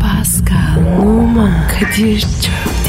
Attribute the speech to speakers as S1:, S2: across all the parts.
S1: Pascal, Oman, Kadir çok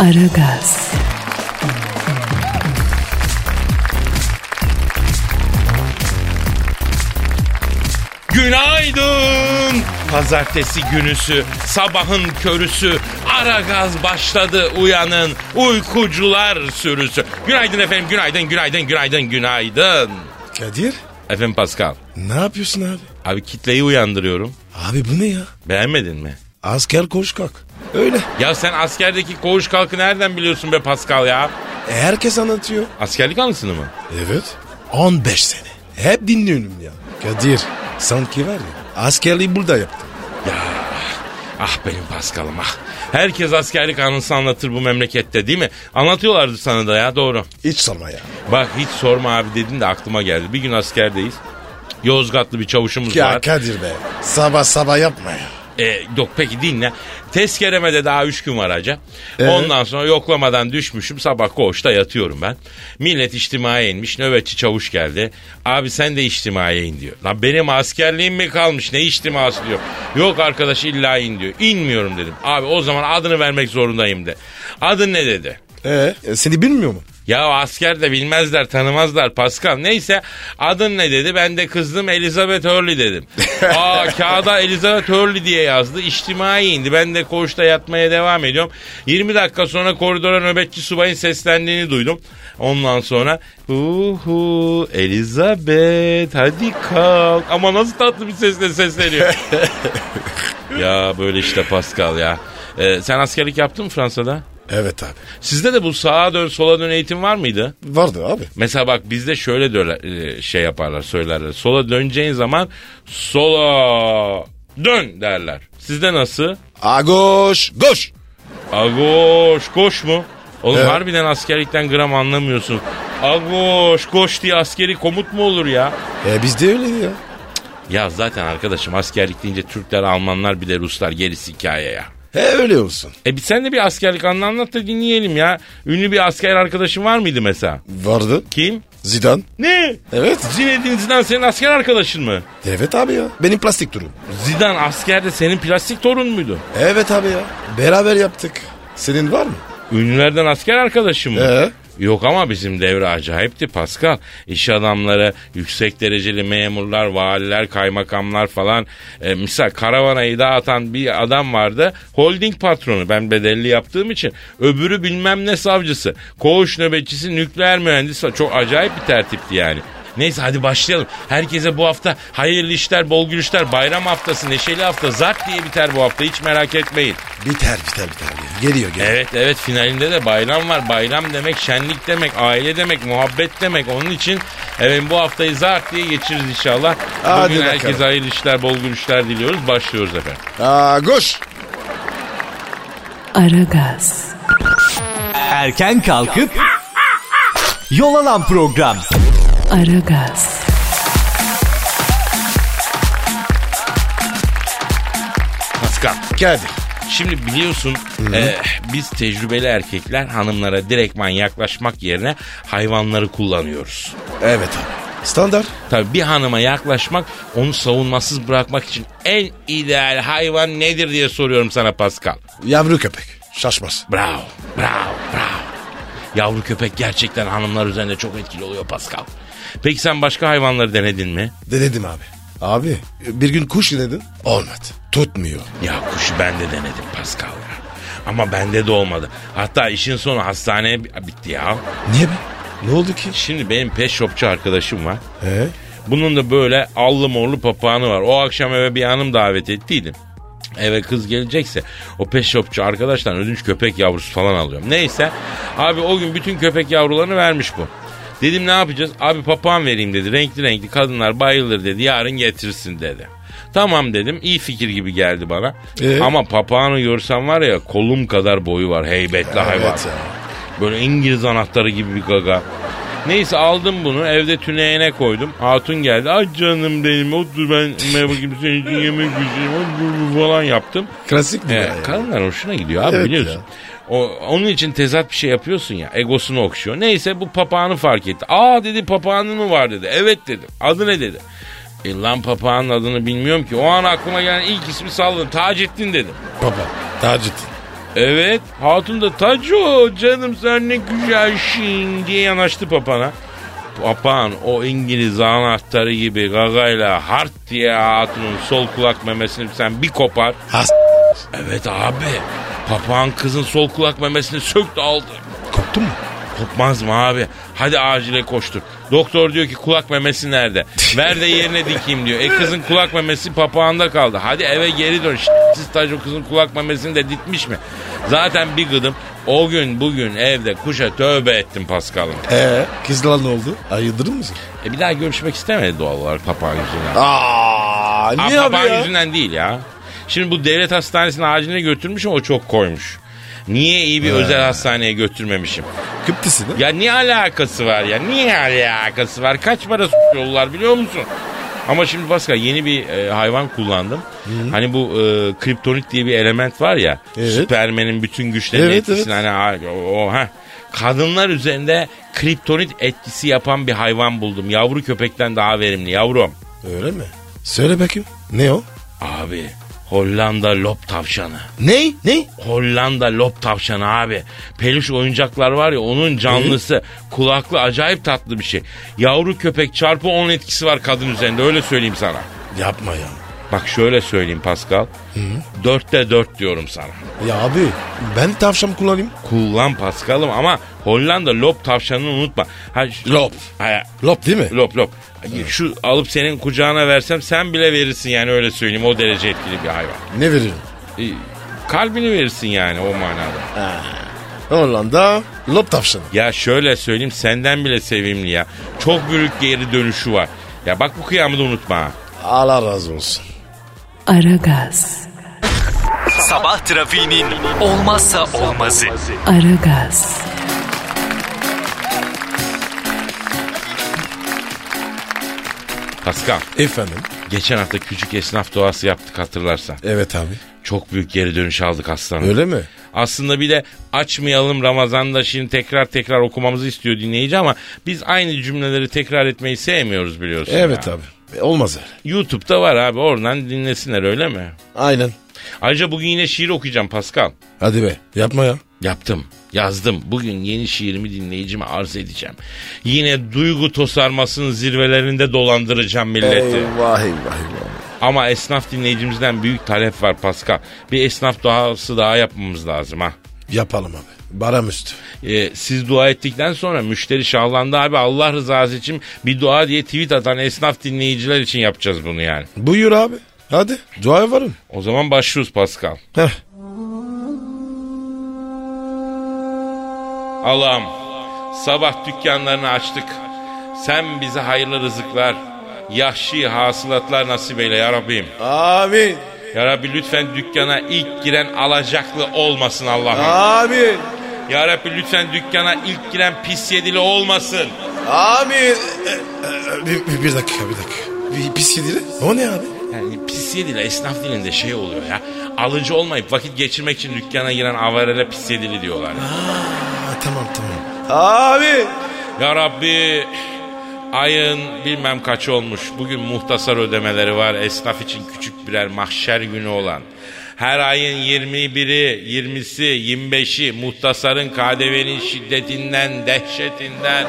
S1: Aragaz,
S2: Günaydın. Pazartesi günüsü, sabahın körüsü, ara gaz başladı uyanın, uykucular sürüsü. Günaydın efendim, günaydın, günaydın, günaydın, günaydın.
S3: Kadir
S2: Efendim Pascal,
S3: ne yapıyorsun abi?
S2: abi kitleyi uyandırıyorum.
S3: Abi bu ne ya?
S2: Beğenmedin mi?
S3: Asker koş kalk. Öyle.
S2: Ya sen askerdeki koğuş kalkı nereden biliyorsun be Pascal ya?
S3: E, herkes anlatıyor.
S2: Askerlik anısını mı?
S3: Evet. 15 sene. Hep dinliyorum ya. Kadir sanki var ya askerliği burada yaptım.
S2: Ah benim Pascal'ım ah. Herkes askerlik anısı anlatır bu memlekette değil mi? Anlatıyorlardı sana da ya doğru.
S3: Hiç sorma ya.
S2: Bak hiç sorma abi dedin de aklıma geldi. Bir gün askerdeyiz. Yozgatlı bir çavuşumuz
S3: Ya
S2: var.
S3: Kadir be sabah sabah yapma ya.
S2: E, yok peki dinle. Tezkeremede daha 3 gün var hacı. Ondan sonra yoklamadan düşmüşüm. Sabah koğuşta yatıyorum ben. Millet içtimaya inmiş. Nöbetçi çavuş geldi. Abi sen de içtimaya in diyor. Lan benim askerliğim mi kalmış? Ne içtiması diyor. Yok arkadaş illa in diyor. İnmiyorum dedim. Abi o zaman adını vermek zorundayım de. Adın ne dedi?
S3: E, e, seni bilmiyor mu?
S2: Ya asker de bilmezler tanımazlar Pascal. Neyse adın ne dedi ben de kızdım Elizabeth Hurley dedim. Aa kağıda Elizabeth Hurley diye yazdı. İçtimai indi ben de koğuşta yatmaya devam ediyorum. 20 dakika sonra koridora nöbetçi subayın seslendiğini duydum. Ondan sonra uhu Elizabeth hadi kalk. Ama nasıl tatlı bir sesle sesleniyor. ya böyle işte Pascal ya. Ee, sen askerlik yaptın mı Fransa'da?
S3: Evet abi.
S2: Sizde de bu sağa dön sola dön eğitim var mıydı?
S3: Vardı abi.
S2: Mesela bak bizde şöyle diyorlar, e, şey yaparlar söylerler. Sola döneceğin zaman sola dön derler. Sizde nasıl?
S3: Agoş koş.
S2: Agoş koş mu? Oğlum
S3: Evet.
S2: harbiden askerlikten gram anlamıyorsun. Agoş koş diye askeri komut mu olur ya?
S3: E, bizde öyle ya.
S2: Ya zaten arkadaşım askerlik deyince Türkler, Almanlar bir de Ruslar gerisi hikaye ya.
S3: E, öyle olsun.
S2: E bir sen de bir askerlik anı anlat da dinleyelim ya. Ünlü bir asker arkadaşın var mıydı mesela?
S3: Vardı.
S2: Kim?
S3: Zidane.
S2: Ne?
S3: Evet.
S2: Zinedine Zidane senin asker arkadaşın mı?
S3: Evet abi ya. Benim plastik durum.
S2: Zidane askerde senin plastik torun muydu?
S3: Evet abi ya. Beraber yaptık. Senin var mı?
S2: Ünlülerden asker arkadaşım mı?
S3: Ee?
S2: Yok ama bizim devre acayipti Pascal. İş adamları, yüksek dereceli memurlar, valiler, kaymakamlar falan. E, misal karavanayı dağıtan bir adam vardı. Holding patronu ben bedelli yaptığım için. Öbürü bilmem ne savcısı. Koğuş nöbetçisi, nükleer mühendisi. falan. Çok acayip bir tertipti yani. Neyse hadi başlayalım. Herkese bu hafta hayırlı işler, bol gülüşler, bayram haftası, neşeli hafta, zart diye biter bu hafta. Hiç merak etmeyin.
S3: Biter biter biter. ya. Geliyor geliyor.
S2: Evet evet finalinde de bayram var. Bayram demek şenlik demek, aile demek, muhabbet demek. Onun için evet bu haftayı zart diye geçiririz inşallah.
S3: Hadi
S2: Bugün
S3: bakalım.
S2: herkese hayırlı işler, bol gülüşler diliyoruz. Başlıyoruz efendim.
S3: Agoş.
S1: Aragaz,
S4: Erken kalkıp yol alan program.
S1: Aragaz,
S2: Pascal.
S3: Kadir.
S2: Şimdi biliyorsun e, biz tecrübeli erkekler hanımlara direktman yaklaşmak yerine hayvanları kullanıyoruz.
S3: Evet abi. Standart.
S2: Tabii bir hanıma yaklaşmak onu savunmasız bırakmak için en ideal hayvan nedir diye soruyorum sana Pascal.
S3: Yavru köpek. Şaşmaz.
S2: Bravo, bravo, bravo. Yavru köpek gerçekten hanımlar üzerinde çok etkili oluyor Pascal. Peki sen başka hayvanları denedin mi?
S3: Denedim abi. Abi bir gün kuş denedin. Olmadı. Tutmuyor.
S2: Ya kuşu ben de denedim Pascal ya. Ama bende de olmadı. Hatta işin sonu hastaneye bi- bitti ya.
S3: Niye be? Ne oldu ki?
S2: Şimdi benim pet shopçu arkadaşım var.
S3: Ee?
S2: Bunun da böyle allı morlu papağanı var. O akşam eve bir hanım davet ettiydim. Eve kız gelecekse o pet shopçu arkadaştan ödünç köpek yavrusu falan alıyorum. Neyse abi o gün bütün köpek yavrularını vermiş bu. Dedim ne yapacağız? Abi papağan vereyim dedi. Renkli renkli kadınlar bayılır dedi. Yarın getirsin dedi. Tamam dedim iyi fikir gibi geldi bana.
S3: Ee?
S2: Ama papağanı görsen var ya kolum kadar boyu var heybetli hayvan.
S3: ya.
S2: Böyle İngiliz anahtarı gibi bir gaga. Neyse aldım bunu evde tüneğine koydum. Hatun geldi. Ay canım benim otur ben merhaba gibi senin için yemek yiyeceğim falan yaptım.
S3: Klasik mi?
S2: Ee,
S3: ya?
S2: kadınlar hoşuna gidiyor abi
S3: Evet
S2: biliyorsun.
S3: ya.
S2: O, onun için tezat bir şey yapıyorsun ya. Egosunu okşuyor. Neyse bu papağanı fark etti. Aa dedi papağanın mı var dedi. Evet dedim. Adı ne dedi. E lan papağanın adını bilmiyorum ki. O an aklıma gelen ilk ismi salladım. Taceddin dedim.
S3: Baba. Tacit.
S2: Evet. Hatun da Taco canım sen ne güzelsin diye yanaştı papana. Papağan o İngiliz anahtarı gibi gagayla hart diye hatunun sol kulak memesini sen bir kopar.
S3: Has
S2: Evet abi. Papağan kızın sol kulak memesini söktü aldı.
S3: koptu mu?
S2: Kopmaz mı abi? Hadi acile koştur. Doktor diyor ki kulak memesi nerede? Ver de yerine dikeyim diyor. E kızın kulak memesi papağanda kaldı. Hadi eve geri dön. Siz Taco kızın kulak memesini de ditmiş mi? Zaten bir gıdım. O gün bugün evde kuşa tövbe ettim Paskal'ım.
S3: Ee, kızla ne oldu? Ayıldırır mısın?
S2: E bir daha görüşmek istemedi doğal olarak papağan yüzünden.
S3: Aa,
S2: Aa,
S3: niye abi
S2: papağan
S3: ya?
S2: yüzünden değil ya. Şimdi bu devlet hastanesine aciline götürmüş ama o çok koymuş. Niye iyi bir özel hastaneye götürmemişim?
S3: Kıptısın ha?
S2: Ya ne alakası var ya? Niye alakası var? Kaç para sokuyorlar biliyor musun? Ama şimdi Pascal yeni bir e, hayvan kullandım. Hani bu e, kriptonit diye bir element var ya.
S3: Evet.
S2: Süpermen'in bütün güçlerini
S3: Evet,
S2: etkisini hani o, o ha. Kadınlar üzerinde kriptonit etkisi yapan bir hayvan buldum. Yavru köpekten daha verimli yavrum.
S3: Öyle mi? Söyle bakayım. Ne o?
S2: Abi Hollanda lop tavşanı.
S3: Ne? Ne?
S2: Hollanda lop tavşanı abi. Peluş oyuncaklar var ya onun canlısı. Kulaklı acayip tatlı bir şey. Yavru köpek çarpı 10 etkisi var kadın üzerinde öyle söyleyeyim sana.
S3: Yapma ya.
S2: Bak şöyle söyleyeyim Pascal. Dörtte dört diyorum sana.
S3: Ya abi ben tavşan kullanayım.
S2: Kullan Pascal'ım ama Hollanda lop tavşanını unutma. Ha, şu-
S3: Lop.
S2: Ha,
S3: Lop değil mi?
S2: lop lop. Şu alıp senin kucağına versem sen bile verirsin yani öyle söyleyeyim o derece etkili bir hayvan.
S3: Ne veririm?
S2: E, kalbini verirsin yani o manada.
S3: Hollanda lop tavşanı.
S2: Ya şöyle söyleyeyim senden bile sevimli ya. Çok büyük geri dönüşü var. Ya bak bu kıyamı da unutma ha.
S3: Allah razı olsun.
S1: Aragaz.
S4: Sabah trafiğinin olmazsa olmazı.
S1: Aragaz.
S2: Pascal
S3: Efendim?
S2: geçen hafta küçük esnaf doğası yaptık hatırlarsan.
S3: Evet abi.
S2: Çok büyük geri dönüş aldık aslanım.
S3: Öyle mi?
S2: Aslında bir de açmayalım Ramazan'da şimdi tekrar tekrar okumamızı istiyor dinleyici ama biz aynı cümleleri tekrar etmeyi sevmiyoruz biliyorsun.
S3: Evet
S2: ya.
S3: abi. E, Olmaz öyle.
S2: YouTube'da var abi oradan dinlesinler öyle mi?
S3: Aynen.
S2: Ayrıca bugün yine şiir okuyacağım Pascal.
S3: Hadi be yapma ya.
S2: Yaptım, yazdım. Bugün yeni şiirimi dinleyicime arz edeceğim. Yine duygu tosarmasının zirvelerinde dolandıracağım milleti.
S3: Eyvah eyvah eyvah.
S2: Ama esnaf dinleyicimizden büyük talep var Pascal. Bir esnaf duası daha yapmamız lazım ha.
S3: Yapalım abi. Baram üstü.
S2: Ee, siz dua ettikten sonra müşteri şahlandı abi Allah rızası için bir dua diye tweet atan esnaf dinleyiciler için yapacağız bunu yani.
S3: Buyur abi. Hadi duaya varın.
S2: O zaman başlıyoruz Pascal.
S3: Heh.
S2: Allah'ım sabah dükkanlarını açtık. Sen bize hayırlı rızıklar, yahşi hasılatlar nasip eyle ya Rabbim.
S3: Amin.
S2: Ya Rabbi lütfen dükkana ilk giren alacaklı olmasın Allah'ım.
S3: Amin.
S2: Ya Rabbi lütfen dükkana ilk giren pis yedili olmasın.
S3: Amin. E, e, Bir, bir, bir dakika bir dakika. Bir, pis yedili. O ne abi?
S2: Yani pis yedili esnaf dilinde şey oluyor ya. Alıcı olmayıp vakit geçirmek için dükkana giren avarele pis yedili diyorlar.
S3: Ha, tamam tamam. Abi.
S2: Ya Rabbi ayın bilmem kaç olmuş. Bugün muhtasar ödemeleri var. Esnaf için küçük birer mahşer günü olan. Her ayın 21'i, 20'si, 25'i muhtasarın KDV'nin şiddetinden, dehşetinden,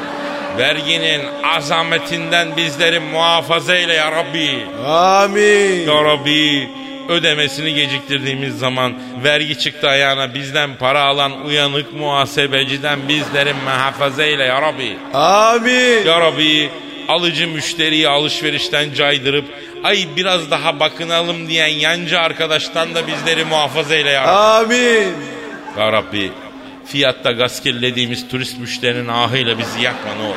S2: verginin azametinden bizleri muhafaza eyle ya Rabbi.
S3: Amin.
S2: Ya Rabbi ödemesini geciktirdiğimiz zaman vergi çıktı ayağına bizden para alan uyanık muhasebeciden bizleri muhafaza eyle ya Rabbi.
S3: Amin.
S2: Ya Rabbi alıcı müşteriyi alışverişten caydırıp ay biraz daha bakınalım diyen yancı arkadaştan da bizleri muhafaza eyle ya Rabbi.
S3: Amin.
S2: Ya Rabbi fiyatta gaz kirlediğimiz turist müşterinin ahıyla bizi yakma ne olur.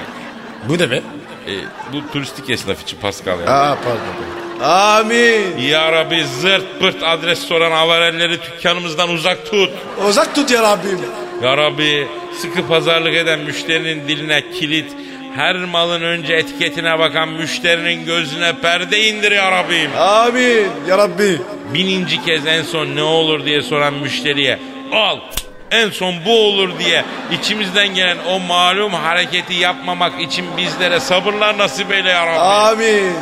S3: Bu ne be?
S2: E, bu turistik esnaf için Pascal ya.
S3: Aa pardon. Amin.
S2: Ya Rabbi zırt pırt adres soran avarelleri dükkanımızdan uzak tut.
S3: Uzak tut ya Rabbim.
S2: Ya Rabbi sıkı pazarlık eden müşterinin diline kilit, her malın önce etiketine bakan müşterinin gözüne perde indir ya Rabbim.
S3: Amin ya Rabbi.
S2: Bininci kez en son ne olur diye soran müşteriye al en son bu olur diye içimizden gelen o malum hareketi yapmamak için bizlere sabırlar nasip eyle ya Rabbi.
S3: Amin.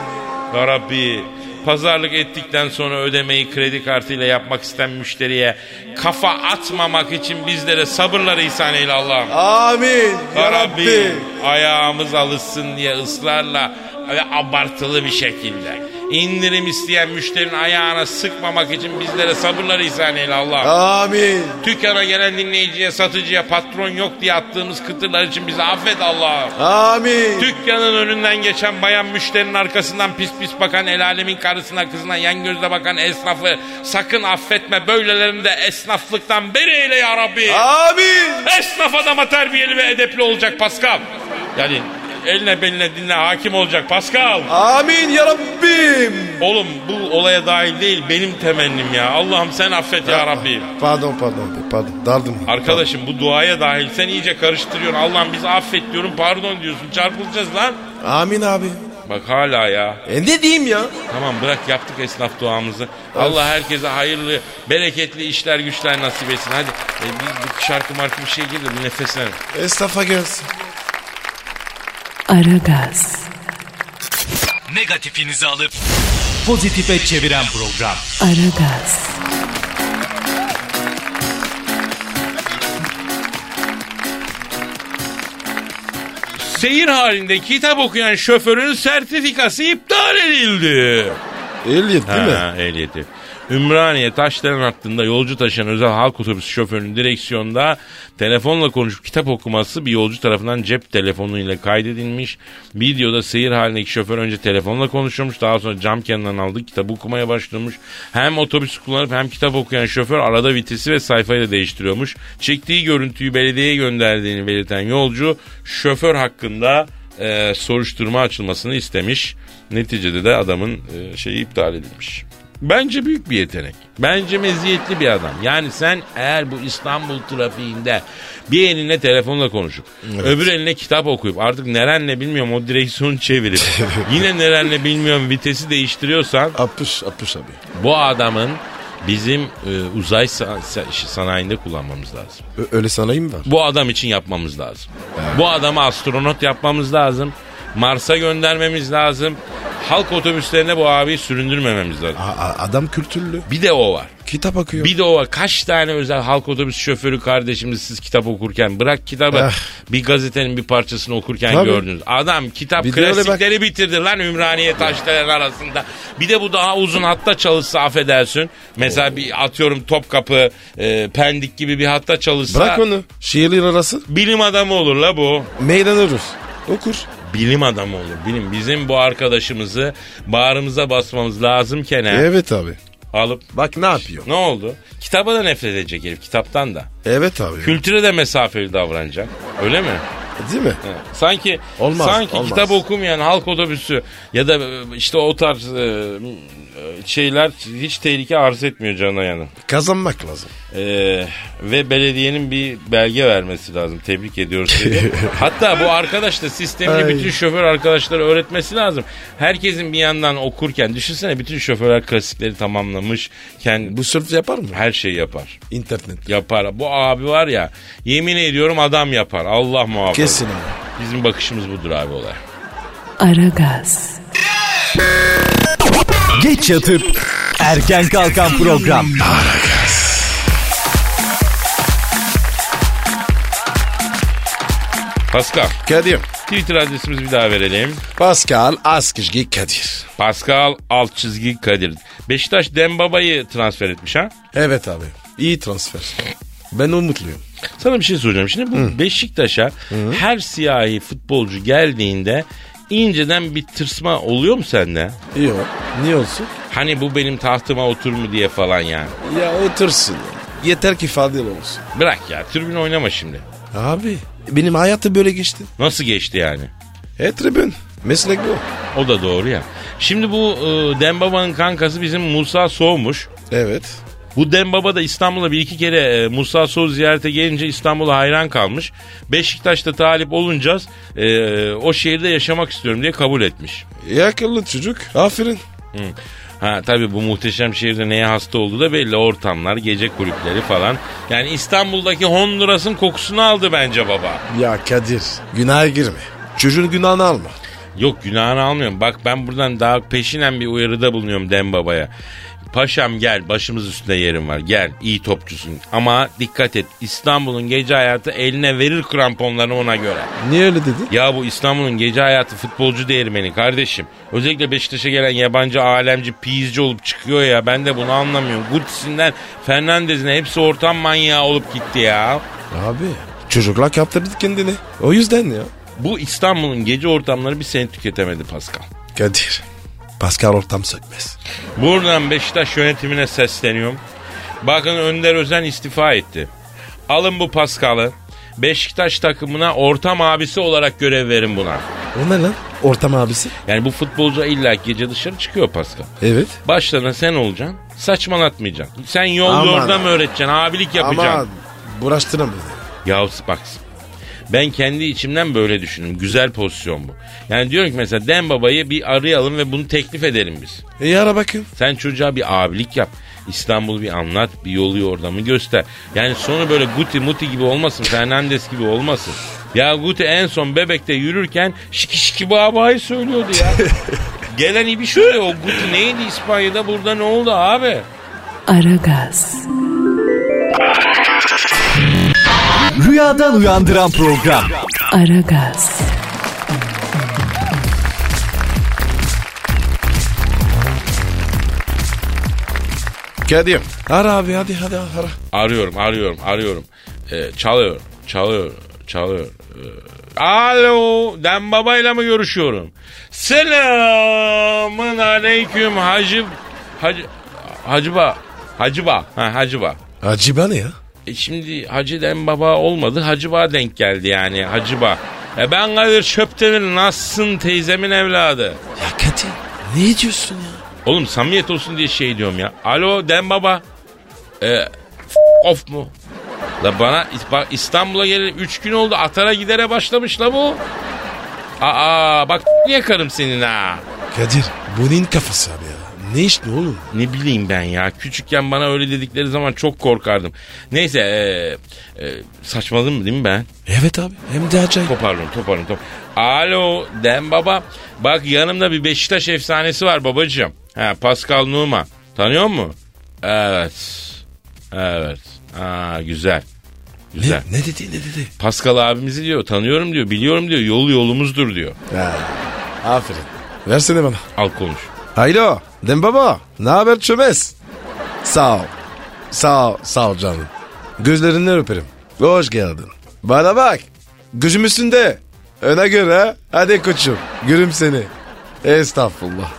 S2: Ya Rabbi pazarlık ettikten sonra ödemeyi kredi kartıyla yapmak isteyen müşteriye kafa atmamak için bizlere sabırlar ihsan eyle Allah'ım.
S3: Amin
S2: Ya Rabbi ayağımız alışsın diye ısrarla ve abartılı bir şekilde indirim isteyen müşterinin ayağına sıkmamak için bizlere sabırlar ihsan eyle Allah.
S3: Amin.
S2: Dükkana gelen dinleyiciye, satıcıya patron yok diye attığımız kıtırlar için bizi affet Allah.
S3: Amin.
S2: Dükkanın önünden geçen bayan müşterinin arkasından pis pis bakan el alemin karısına kızına yan gözle bakan esnafı sakın affetme. Böylelerini de esnaflıktan beri eyle ya Rabbi.
S3: Amin.
S2: Esnaf adama terbiyeli ve edepli olacak Pascal. Yani eline beline dinle hakim olacak Pascal.
S3: Amin ya Rabbim.
S2: Oğlum bu olaya dahil değil benim temennim ya. Allah'ım sen affet ya Rabbi.
S3: Pardon pardon pardon. Dardım.
S2: Arkadaşım bu duaya dahil sen iyice karıştırıyorsun. Allah'ım bizi affet diyorum pardon diyorsun çarpılacağız lan.
S3: Amin abi.
S2: Bak hala ya.
S3: E ne diyeyim ya?
S2: Tamam bırak yaptık esnaf duamızı. Allah herkese hayırlı, bereketli işler güçler nasip etsin. Hadi e, bir, bir şarkı markı bir şey gelir bir nefeslen.
S3: Estafa gelsin.
S1: Aragaz,
S4: Negatifinizi alıp pozitife çeviren program.
S1: Aragaz,
S2: Seyir halinde kitap okuyan şoförün sertifikası iptal edildi.
S3: Ehliyet değil mi?
S2: Ha, ehliyeti. Ümraniye Taşdelen hattında yolcu taşıyan özel halk otobüsü şoförünün direksiyonda telefonla konuşup kitap okuması bir yolcu tarafından cep telefonuyla kaydedilmiş. Videoda seyir halindeki şoför önce telefonla konuşuyormuş daha sonra cam kenarından aldı kitabı okumaya başlamış. Hem otobüsü kullanıp hem kitap okuyan şoför arada vitesi ve sayfayı da değiştiriyormuş. Çektiği görüntüyü belediyeye gönderdiğini belirten yolcu şoför hakkında e, soruşturma açılmasını istemiş. Neticede de adamın e, şeyi iptal edilmiş. Bence büyük bir yetenek. Bence meziyetli bir adam. Yani sen eğer bu İstanbul trafiğinde bir eline telefonla konuşup öbür eline kitap okuyup artık nerenle bilmiyorum o direksiyonu çevirip yine nerenle bilmiyorum vitesi değiştiriyorsan
S3: Apış apış abi.
S2: bu adamın bizim e, uzay sa- sa- sanayinde kullanmamız lazım.
S3: Ö- öyle sanayi mi var?
S2: Bu adam için yapmamız lazım. Bu adamı astronot yapmamız lazım. Mars'a göndermemiz lazım. Halk otobüslerine bu abiyi süründürmememiz lazım.
S3: A- a- adam kültürlü.
S2: Bir de o var.
S3: Kitap akıyor.
S2: Bir de o var. Kaç tane özel halk otobüs şoförü kardeşimiz siz kitap okurken bırak kitabı
S3: Eh.
S2: bir gazetenin bir parçasını okurken
S3: Tabii.
S2: gördünüz. Adam kitap
S3: Bir de öyle
S2: klasikleri bitirdi lan Ümraniye Taşdelen arasında. Bir de bu daha uzun hatta çalışsa affedersin. Mesela bir atıyorum Topkapı, e, Pendik gibi bir hatta çalışsa
S3: Bırak onu. Şiirler arası.
S2: bilim adamı olur la bu.
S3: Meydan örür. Okur.
S2: bilim adamı olur. Bilim bizim bu arkadaşımızı bağrımıza basmamız lazımken ha,
S3: Evet abi.
S2: alıp
S3: Bak ne yapıyor?
S2: ne oldu? Kitaba da nefret edecek herif kitaptan da.
S3: Evet abi.
S2: Kültüre de mesafeli davranacak. Öyle mi?
S3: Değil mi?
S2: Evet. Sanki
S3: Olmaz,
S2: sanki
S3: olmaz.
S2: kitap okumayan halk otobüsü ya da e, işte o tarz e, şeyler hiç tehlike arz etmiyor canına yanı.
S3: Kazanmak lazım.
S2: Ee, ve belediyenin bir belge vermesi lazım. Tebrik ediyoruz. dedi. Hatta bu arkadaş da sistemli
S3: Ay.
S2: bütün şoför arkadaşlara öğretmesi lazım. Herkesin bir yandan okurken düşünsene bütün şoförler klasikleri tamamlamış. Kendi,
S3: Bu sırf yapar mı?
S2: her şeyi yapar.
S3: İnternet.
S2: Yapar. Bu abi var ya yemin ediyorum adam yapar. Allah muhafaza.
S3: Kesin abi.
S2: Bizim bakışımız budur abi olay.
S1: Aragaz,
S4: Geç yatıp erken kalkan program.
S2: Pascal
S3: Kadir.
S2: Twitter adresimizi bir daha verelim.
S3: Pascal Askışgi Kadir.
S2: Pascal alt çizgi Kadir. Beşiktaş Dembaba'yı transfer etmiş ha?
S3: Evet abi. İyi transfer. Ben umutluyum.
S2: Sana bir şey soracağım. Şimdi bu Beşiktaş'a her siyahi futbolcu geldiğinde inceden bir tırsma oluyor mu sende?
S3: Yok. Niye olsun?
S2: Hani bu benim tahtıma otur mu diye falan yani.
S3: Ya otursun. Yeter ki Fadil olsun.
S2: Bırak ya tribün oynama şimdi.
S3: Abi benim hayatım böyle geçti.
S2: Nasıl geçti yani?
S3: E tribün. Meslek bu.
S2: O da doğru ya. Şimdi bu e, Dembaba'nın kankası bizim Musa Soğumuş.
S3: Evet.
S2: Bu Dembaba da İstanbul'a bir iki kere e, Musa Soğ ziyarete gelince İstanbul'a hayran kalmış. Beşiktaş'ta talip olunca e, o şehirde yaşamak istiyorum diye kabul etmiş.
S3: İyi akıllı çocuk. Aferin.
S2: Ha tabii bu muhteşem şehirde neye hasta olduğu da belli. Ortamlar, gece kulüpleri falan. Yani İstanbul'daki Honduras'ın kokusunu aldı bence baba.
S3: Ya Kadir günaha girme. Çocuğun günahını alma.
S2: Yok günahını almıyorum. Bak ben buradan daha peşinen bir uyarıda bulunuyorum Dembaba'ya. Paşam gel başımız üstünde yerin var gel iyi topçusun ama dikkat et İstanbul'un gece hayatı eline verir kramponlarını ona göre.
S3: Niye öyle dedi?
S2: Ya bu İstanbul'un gece hayatı futbolcu değirmeni kardeşim. Özellikle Beşiktaş'a gelen yabancı alemci piyizci olup çıkıyor ya ben de bunu anlamıyorum. Gutisinden Fernandez'ine hepsi ortam manyağı olup gitti ya.
S3: Abi çocuklar kaptırdı kendini. O yüzden ya.
S2: Bu İstanbul'un gece ortamları bir sene tüketemedi Pascal.
S3: Kadir. Pascal ortam sökmez.
S2: Buradan Beşiktaş yönetimine sesleniyorum. Bakın Önder Özen istifa etti. Alın bu Paskal'ı. Beşiktaş takımına ortam abisi olarak görev verin buna.
S3: O ne lan? Ortam abisi.
S2: Yani bu futbolcu illa gece dışarı çıkıyor Pascal.
S3: Evet.
S2: Başlarına sen olacaksın. Saçmalatmayacaksın. Sen yol
S3: Aman.
S2: yorda mı öğreteceksin? Abilik yapacaksın.
S3: Ama bulaştıran bizi.
S2: Ya bak ben kendi içimden böyle düşündüm. Güzel pozisyon bu. Yani diyorum ki mesela Dembaba'yı bir arayalım ve bunu teklif edelim biz.
S3: İyi ara bakayım.
S2: Sen çocuğa bir abilik yap. İstanbul'u bir anlat, bir yolu yordamı göster. Yani sonu böyle Guti Muti gibi olmasın, Fernandes gibi olmasın. Ya Guti en son bebekte yürürken şiki şiki babayı söylüyordu ya. Gelen iyi bir şey o Guti neydi İspanya'da burada ne oldu abi?
S1: Aragaz,
S4: Rüyadan uyandıran program.
S1: Aragaz,
S3: Kadir. Ara abi hadi hadi ara.
S2: Arıyorum, arıyorum, arıyorum. Ee, çalıyor, çalıyor, çalıyor. Ee, Alo, Dem Baba'yla mı görüşüyorum? Selamın aleyküm Hacı... Hacı... Hacıba. Hacıba. Ha, Hacıba.
S3: Acaba ne ya?
S2: E şimdi Hacı Dem Baba olmadı, Hacıba denk geldi yani, Hacıba. E ben Kadir Çöptemir, nasılsın teyzemin evladı?
S3: Ya Kadir ne diyorsun ya?
S2: Oğlum samimiyet olsun diye şey diyorum ya. Alo Dem Baba. Ee, of mu? La bana bak İstanbul'a geleli 3 gün oldu atara gidere başlamış la bu. Aa bak yakarım senin ha.
S3: Kadir bu neyin kafası abi ya? Ne iş ne oğlum?
S2: Ne bileyim ben ya küçükken bana öyle dedikleri zaman çok korkardım. Neyse ee, ee, saçmaladım değil mi ben?
S3: Evet abi hem de acayip.
S2: Toparlıyorum toparlıyorum. Top... Alo Dem Baba. Bak yanımda bir Beşiktaş efsanesi var babacığım. Ha, Pascal Numa. Tanıyor musun? Evet. Evet. Aa, güzel. Güzel.
S3: Ne, ne dedi ne dedi?
S2: Pascal abimizi diyor tanıyorum diyor biliyorum diyor yolu yolumuzdur diyor.
S3: Aferin. Versene bana.
S2: Al konuş.
S3: Haylo. Dem baba. Ne haber çömez? Sağ ol. Sağ ol. Sağ ol canım. Gözlerinden öperim. Hoş geldin. Bana bak. Gözüm üstünde. Öne göre. ha. Hadi koçum. Görüm seni. Estağfurullah.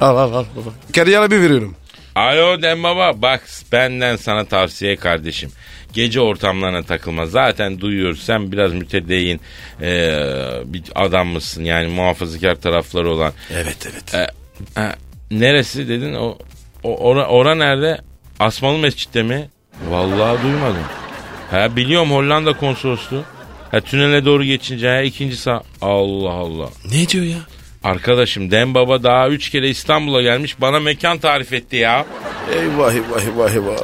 S3: Al al al. al. Kariyere bir veriyorum.
S2: Alo Dem Baba bak benden sana tavsiye kardeşim. Gece ortamlarına takılma. Zaten duyuyoruz sen biraz mütedeyyin ee, bir adam mısın yani muhafazakar tarafları olan.
S3: Evet evet.
S2: E, e, neresi dedin? O, o ora, ora nerede? Asmalı Mescid'de mi? Vallahi duymadım. Ha biliyorum Hollanda konsolosluğu. Ha tünele doğru geçince ha ikinci sağ. Allah Allah.
S3: Ne diyor ya?
S2: Arkadaşım Dem Baba daha üç kere İstanbul'a gelmiş bana mekan tarif etti ya.
S3: Eyvah eyvah eyvah eyvah.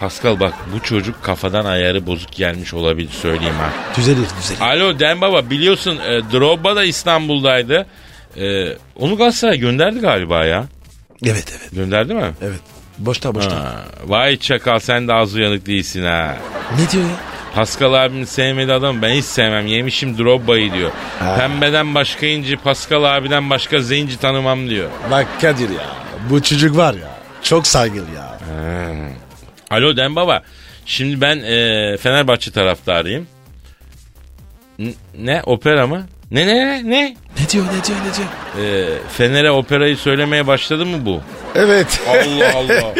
S2: Pascal bak bu çocuk kafadan ayarı bozuk gelmiş olabilir söyleyeyim ha.
S3: Düzelir düzelir.
S2: Alo Dem Baba biliyorsun e, Drogba da İstanbul'daydı. E, onu Galatasaray'a gönderdi galiba ya.
S3: Evet evet.
S2: Gönderdi mi?
S3: Evet. Boşta boşta.
S2: Ha, vay çakal sen de az uyanık değilsin ha.
S3: Ne diyor ya?
S2: Pascal abinin sevmediği adam ben hiç sevmem. Yemişim Drogba'yı diyor. Pembeden başka inci, Pascal abiden başka zenci tanımam diyor.
S3: Bak Kadir ya. Bu çocuk var ya. Çok saygılı ya.
S2: Alo Dem Baba. Şimdi ben e, Fenerbahçe taraftarıyım. N- ne? Opera mı? Ne ne ne?
S3: Ne diyor ne diyor ne diyor?
S2: E, Fener'e operayı söylemeye başladı mı bu?
S3: Evet.
S2: Allah Allah.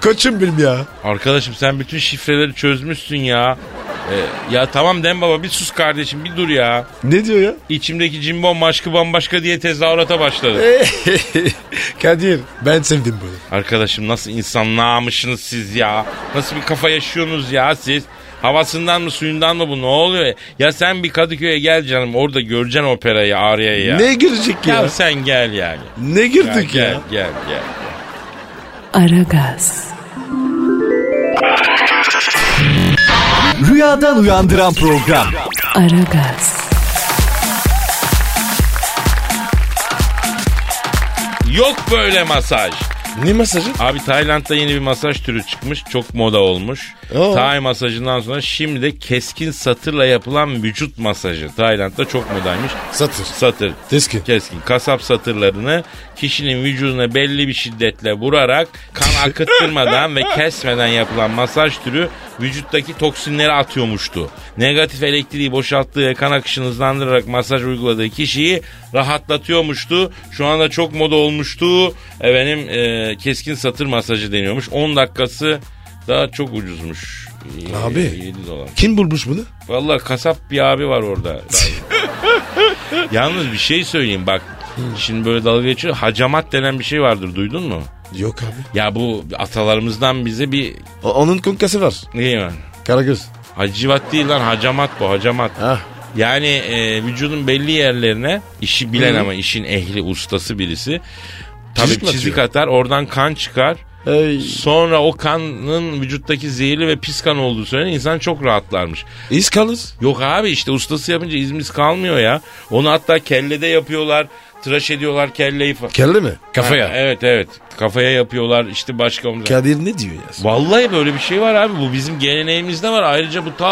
S3: Koçum benim ya.
S2: Arkadaşım sen bütün şifreleri çözmüşsün ya. E, Ya tamam Dem Baba bir sus kardeşim bir dur ya.
S3: Ne diyor ya?
S2: İçimdeki cimbom aşkı bambaşka diye tezahürata başladı.
S3: Kadir ben sevdim bunu.
S2: Arkadaşım nasıl insan namışsınız siz ya? Nasıl bir kafa yaşıyorsunuz ya siz? Havasından mı suyundan mı bu ne oluyor ya? Ya sen bir Kadıköy'e gel canım orada göreceksin operayı Arya'yı ya.
S3: Ne girecek ya?
S2: Ya sen gel yani.
S3: Ne
S2: Ya,
S3: girdik
S2: gel,
S3: ya?
S2: gel gel.
S1: Aragaz,
S4: Rüyadan uyandıran program.
S1: Aragaz,
S2: Yok böyle masaj.
S3: Ne masajı?
S2: Abi Tayland'da yeni bir masaj türü çıkmış. Çok moda olmuş.
S3: Oo.
S2: Tay masajından sonra şimdi de keskin satırla yapılan vücut masajı. Tayland'da çok modaymış.
S3: Satır.
S2: Satır.
S3: Keskin.
S2: Keskin. Kasap satırlarını kişinin vücuduna belli bir şiddetle vurarak kan akıttırmadan ve kesmeden yapılan masaj türü vücuttaki toksinleri atıyormuştu. Negatif elektriği boşalttığı ve kan akışını hızlandırarak masaj uyguladığı kişiyi rahatlatıyormuştu. Şu anda çok moda olmuştu. Efendim e, keskin satır masajı deniyormuş. 10 dakikası daha çok ucuzmuş. Y-
S3: Abi.
S2: 7 dolar.
S3: Kim bulmuş bunu?
S2: Vallahi kasap bir abi var orada. Yalnız bir şey söyleyeyim bak. Şimdi böyle dalga geçiyor. Hacamat denen bir şey vardır duydun mu?
S3: Yok abi.
S2: Ya bu atalarımızdan bize bir
S3: onun konkası var.
S2: ne var?
S3: Karagöz.
S2: Hacivat değil lan hacamat bu hacamat.
S3: Ah.
S2: Yani e, vücudun belli yerlerine işi bilen
S3: Hı.
S2: ama işin ehli ustası birisi. Tabii
S3: Çizik mi
S2: çizik, atar oradan kan çıkar.
S3: Ey.
S2: Sonra o kanın vücuttaki zehirli ve pis kan olduğu söylenen insan çok rahatlarmış.
S3: İz kalır.
S2: Yok abi işte ustası yapınca izimiz kalmıyor ya. Onu hatta kellede yapıyorlar. Tıraş ediyorlar kelleyi falan.
S3: Kelle mi? Kafaya.
S2: Ha, evet evet. Kafaya yapıyorlar işte başka omza.
S3: Kadir ne diyor ya?
S2: Vallahi böyle bir şey var abi. Bu bizim geleneğimizde var. Ayrıca bu ta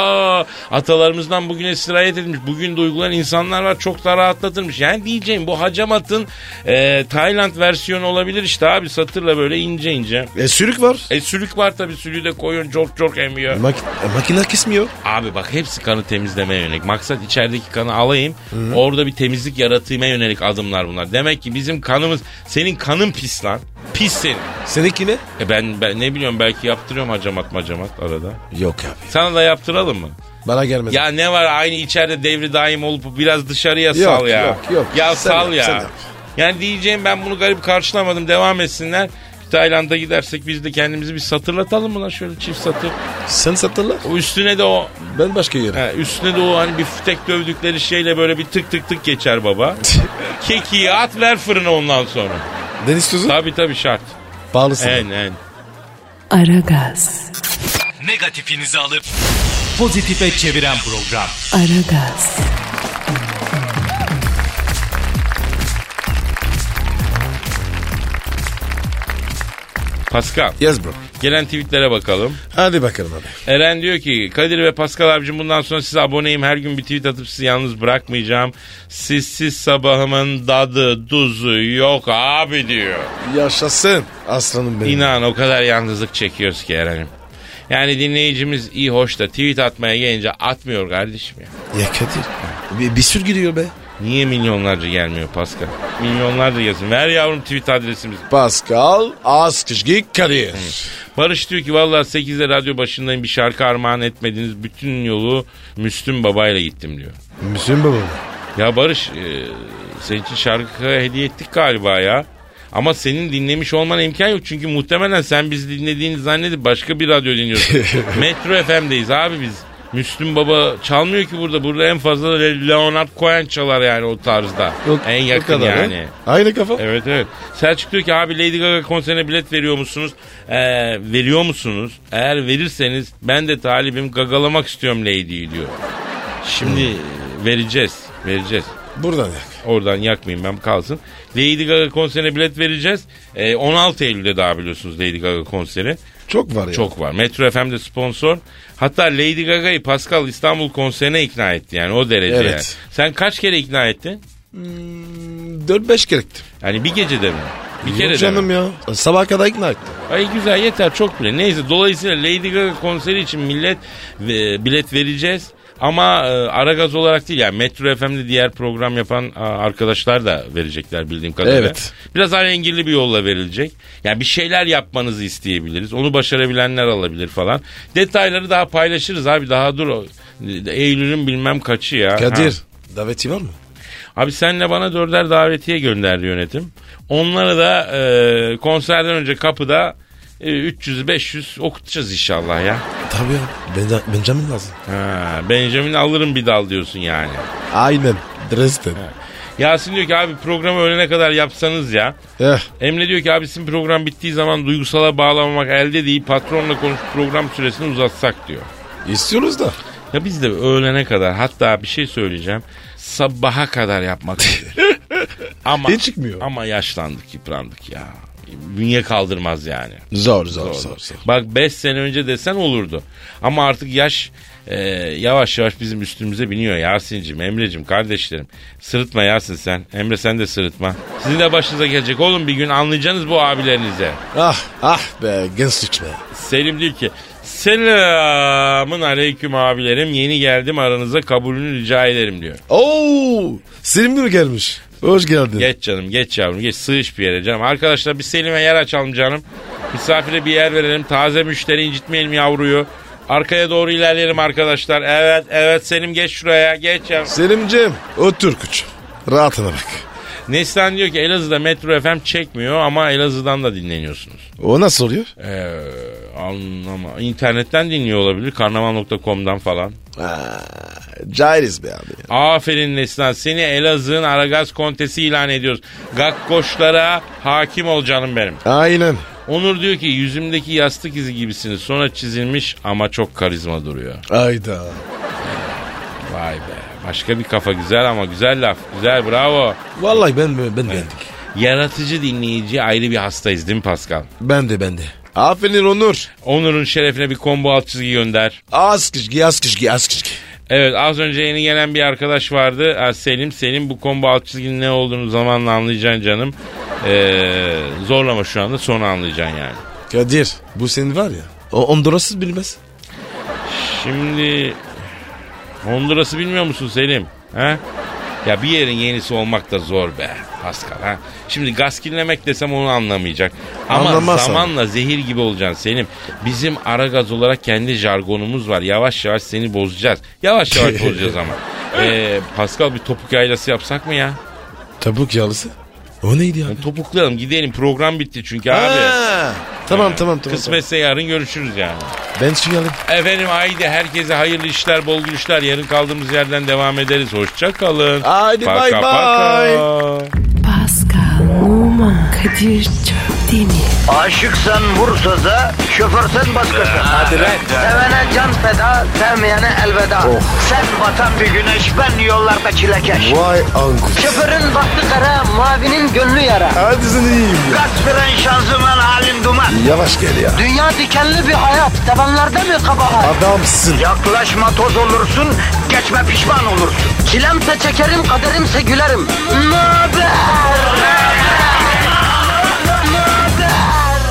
S2: atalarımızdan bugüne sirayet edilmiş. Bugün de uygulayan insanlar var. Çok da rahatlatırmış. Yani diyeceğim bu hacamatın e, Tayland versiyonu olabilir işte abi. Satırla böyle ince ince.
S3: E, sürük var.
S2: E sülük var tabii. Sülüğü de koyun çok çok emiyor.
S3: Mak- e, makine kesmiyor.
S2: Abi bak hepsi kanı temizlemeye yönelik. Maksat içerideki kanı alayım. Orada bir temizlik yaratmaya yönelik adımlar bunlar. Demek ki bizim kanımız senin kanın pis lan. Pis senin.
S3: Seninki ne?
S2: E ben, ben ne biliyorum belki yaptırıyorum hacamat macamat arada.
S3: Yok abi.
S2: Sana da yaptıralım mı?
S3: Bana gelmedi.
S2: Ya ne var aynı içeride devri daim olup biraz dışarıya
S3: Yok,
S2: sal ya.
S3: yok, yok.
S2: Ya
S3: Sen
S2: sal
S3: yap,
S2: ya.
S3: sen yap.
S2: Yani diyeceğim ben bunu garip karşılamadım devam etsinler. Bir Tayland'a gidersek biz de kendimizi bir satırlatalım mı lan şöyle çift satır.
S3: Sen satırlar.
S2: O üstüne de o
S3: Ben başka yere.
S2: Ha, üstüne de o hani biftek dövdükleri şeyle böyle bir tık tık tık geçer baba. Kekiyi at ver fırına ondan sonra.
S3: Deniz tuzu.
S2: Tabi tabi şart.
S3: Pahalı sana.
S2: En en.
S1: Aragaz,
S4: Negatifinizi alıp pozitife çeviren program.
S1: Aragaz,
S2: Pascal
S3: Yes bro.
S2: gelen tweetlere bakalım.
S3: Hadi bakalım abi.
S2: Eren diyor ki Kadir ve Pascal abicim bundan sonra size aboneyim. Her gün bir tweet atıp sizi yalnız bırakmayacağım. Sizsiz sabahımın dadı duzu yok abi diyor.
S3: Yaşasın aslanım benim.
S2: İnan o kadar yalnızlık çekiyoruz ki Eren'im. Yani dinleyicimiz iyi hoş da tweet atmaya gelince atmıyor kardeşim ya.
S3: Ya Kadir bir, bir sürü giriyor be.
S2: Niye milyonlarca gelmiyor Pascal? Milyonlarca yazın. Ver yavrum tweet adresimizi.
S3: Pascal Askışgi Kadir.
S2: Barış diyor ki vallahi 8'de radyo başındayım bir şarkı armağan etmediniz. Bütün yolu Müslüm babayla gittim diyor.
S3: Müslüm babam.
S2: Ya Barış e, senin için şarkı hediye ettik galiba ya. Ama senin dinlemiş olmana imkan yok. Çünkü muhtemelen sen bizi dinlediğini zannedip başka bir radyo dinliyorsun. Metro FM'deyiz abi biz. Müslüm Baba çalmıyor ki burada. Burada en fazla Le- Leonard Cohen çalar yani o tarzda. en yakın yani.
S3: Aynı kafa.
S2: Evet evet. Selçuk diyor ki abi Lady Gaga konserine bilet veriyor musunuz? Ee, veriyor musunuz? Eğer verirseniz ben de talibim gagalamak istiyorum Lady'yi diyor. Şimdi vereceğiz. Vereceğiz.
S3: Buradan yak.
S2: Oradan yakmayayım ben kalsın. Lady Gaga konserine bilet vereceğiz. Ee, 16 Eylül'de daha biliyorsunuz Lady Gaga konseri.
S3: Çok var ya.
S2: Çok var. Metro FM'de sponsor. Hatta Lady Gaga'yı Pascal İstanbul konserine ikna etti yani o derece
S3: Evet.
S2: yani. Sen kaç kere ikna ettin?
S3: 4-5 gerekti.
S2: Yani bir gecede mi? Bir kere de mi?
S3: Yok canım ya. Sabah kadar ikna ettim.
S2: Ay güzel yeter çok bile. Neyse dolayısıyla Lady Gaga konseri için millet e, bilet vereceğiz. Ama e, Aragaz olarak değil yani Metro FM'de diğer program yapan a, arkadaşlar da verecekler bildiğim kadarıyla.
S3: Evet.
S2: Biraz alengirli bir yolla verilecek. Yani bir şeyler yapmanızı isteyebiliriz. Onu başarabilenler alabilir falan. Detayları daha paylaşırız abi daha dur. e, Eylül'ün bilmem kaçı ya.
S3: Kadir.
S2: Ha.
S3: Daveti var mı?
S2: Abi senle bana dörder davetiye gönderdi yönetim. Onları da e, konserden önce kapıda e, 300-500 okutacağız inşallah ya.
S3: Tabii ya. Ben, Benjamin lazım.
S2: Ha, Benjamin alırım bir dal diyorsun yani.
S3: Aynen. Dresden.
S2: Yasin diyor ki abi programı öğlene kadar yapsanız ya.
S3: Eh.
S2: Emre diyor ki abisin program bittiği zaman duygusala bağlamamak elde değil patronla konuşup program süresini uzatsak diyor.
S3: İstiyoruz da.
S2: Ya biz de öğlene kadar hatta bir şey söyleyeceğim. Sabaha kadar yapmak. istiyoruz. ama
S3: Hiç çıkmıyor.
S2: Ama yaşlandık, yıprandık ya. Bünye kaldırmaz yani.
S3: Zor zor zor. zor.
S2: Bak 5 sene önce desen olurdu. Ama artık yaş e, yavaş yavaş bizim üstümüze biniyor Yasin'cim, Emre'cim, kardeşlerim. Sırıtma Yasin sen. Emre sen de sırıtma. Sizin de başınıza gelecek oğlum bir gün anlayacaksınız bu abilerinize.
S3: Ah ah be gençlik be.
S2: Selim diyor ki selamın aleyküm abilerim yeni geldim aranıza kabulünü rica ederim diyor.
S3: Oo, Selim mi gelmiş? Hoş geldin.
S2: Geç canım geç yavrum geç sığış bir yere canım. Arkadaşlar bir Selim'e yer açalım canım. Misafire bir yer verelim taze müşteri incitmeyelim yavruyu. Arkaya doğru ilerleyelim arkadaşlar. Evet evet Selim geç şuraya geç ya.
S3: Selim'cim otur küçük. Rahatına bak.
S2: Neslihan diyor ki Elazığ'da Metro FM çekmiyor ama Elazığ'dan da dinleniyorsunuz.
S3: O nasıl oluyor?
S2: Ee, anlama. İnternetten dinliyor olabilir. Karnaval.com'dan falan.
S3: Cahiliz be abi.
S2: Aferin Neslihan seni Elazığ'ın Aragaz Kontesi ilan ediyoruz. Gakkoşlara hakim ol canım benim.
S3: Aynen.
S2: Onur diyor ki yüzümdeki yastık izi gibisiniz. Sonra çizilmiş ama çok karizma duruyor.
S3: Ayda.
S2: Vay be. Başka bir kafa güzel ama güzel laf. Güzel bravo.
S3: Vallahi ben ben beğendim.
S2: Yaratıcı dinleyici ayrı bir hastayız değil mi Pascal?
S3: Ben de ben de. Aferin Onur.
S2: Onur'un şerefine bir kombo alt çizgi gönder.
S3: Az kışkı az kışkı az kışkı.
S2: Evet az önce yeni gelen bir arkadaş vardı. Ha, Selim. Selim bu kombo alt çizginin ne olduğunu zamanla anlayacaksın canım. Ee, zorlama şu anda sonra anlayacaksın yani.
S3: Kadir bu senin var ya. O Honduras'ı bilmez.
S2: Şimdi Honduras'ı bilmiyor musun Selim? Ha? Ya bir yerin yenisi olmak da zor be Pascal ha. Şimdi gaskinlemek desem onu anlamayacak. Ama
S3: Anlamaz abi.
S2: zamanla zehir gibi olacaksın Selim. Bizim ara gaz olarak kendi jargonumuz var. Yavaş yavaş seni bozacağız. Yavaş yavaş bozacağız ama. Ee, Pascal bir topuk yaylası yapsak mı ya?
S3: Tabuk yağlısı. O neydi ya?
S2: Topuklayalım gidelim program bitti çünkü abi.
S3: Ha, Tamam tamam tamam.
S2: Kısmetse yarın görüşürüz yani.
S3: tamam. Ben şu alayım.
S2: Efendim haydi herkese hayırlı işler, bol gülüşler. Yarın kaldığımız yerden devam ederiz. Hoşça kalın.
S3: Haydi, bay bay.
S1: Pascal, Oman, Kadir çok değil mi?
S5: Aşıksan vursa da şoförsen başkasın. Hadi Sevene can feda, sevmeyene elveda. Sen batan bir güneş, ben yollarda çilekeş.
S3: Vay anku.
S5: Şoförün baktı kara, mavinin gönlü yara.
S3: Hadi sen iyiyim ya.
S5: Kasperen şanzıman halin duman.
S3: Yavaş gel ya.
S5: Dünya dikenli bir hayat, sevenlerde mi kabahar?
S3: Adamsın.
S5: Yaklaşma toz olursun, geçme pişman olursun. Çilemse çekerim, kaderimse gülerim. Möber!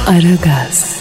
S1: Aragaz.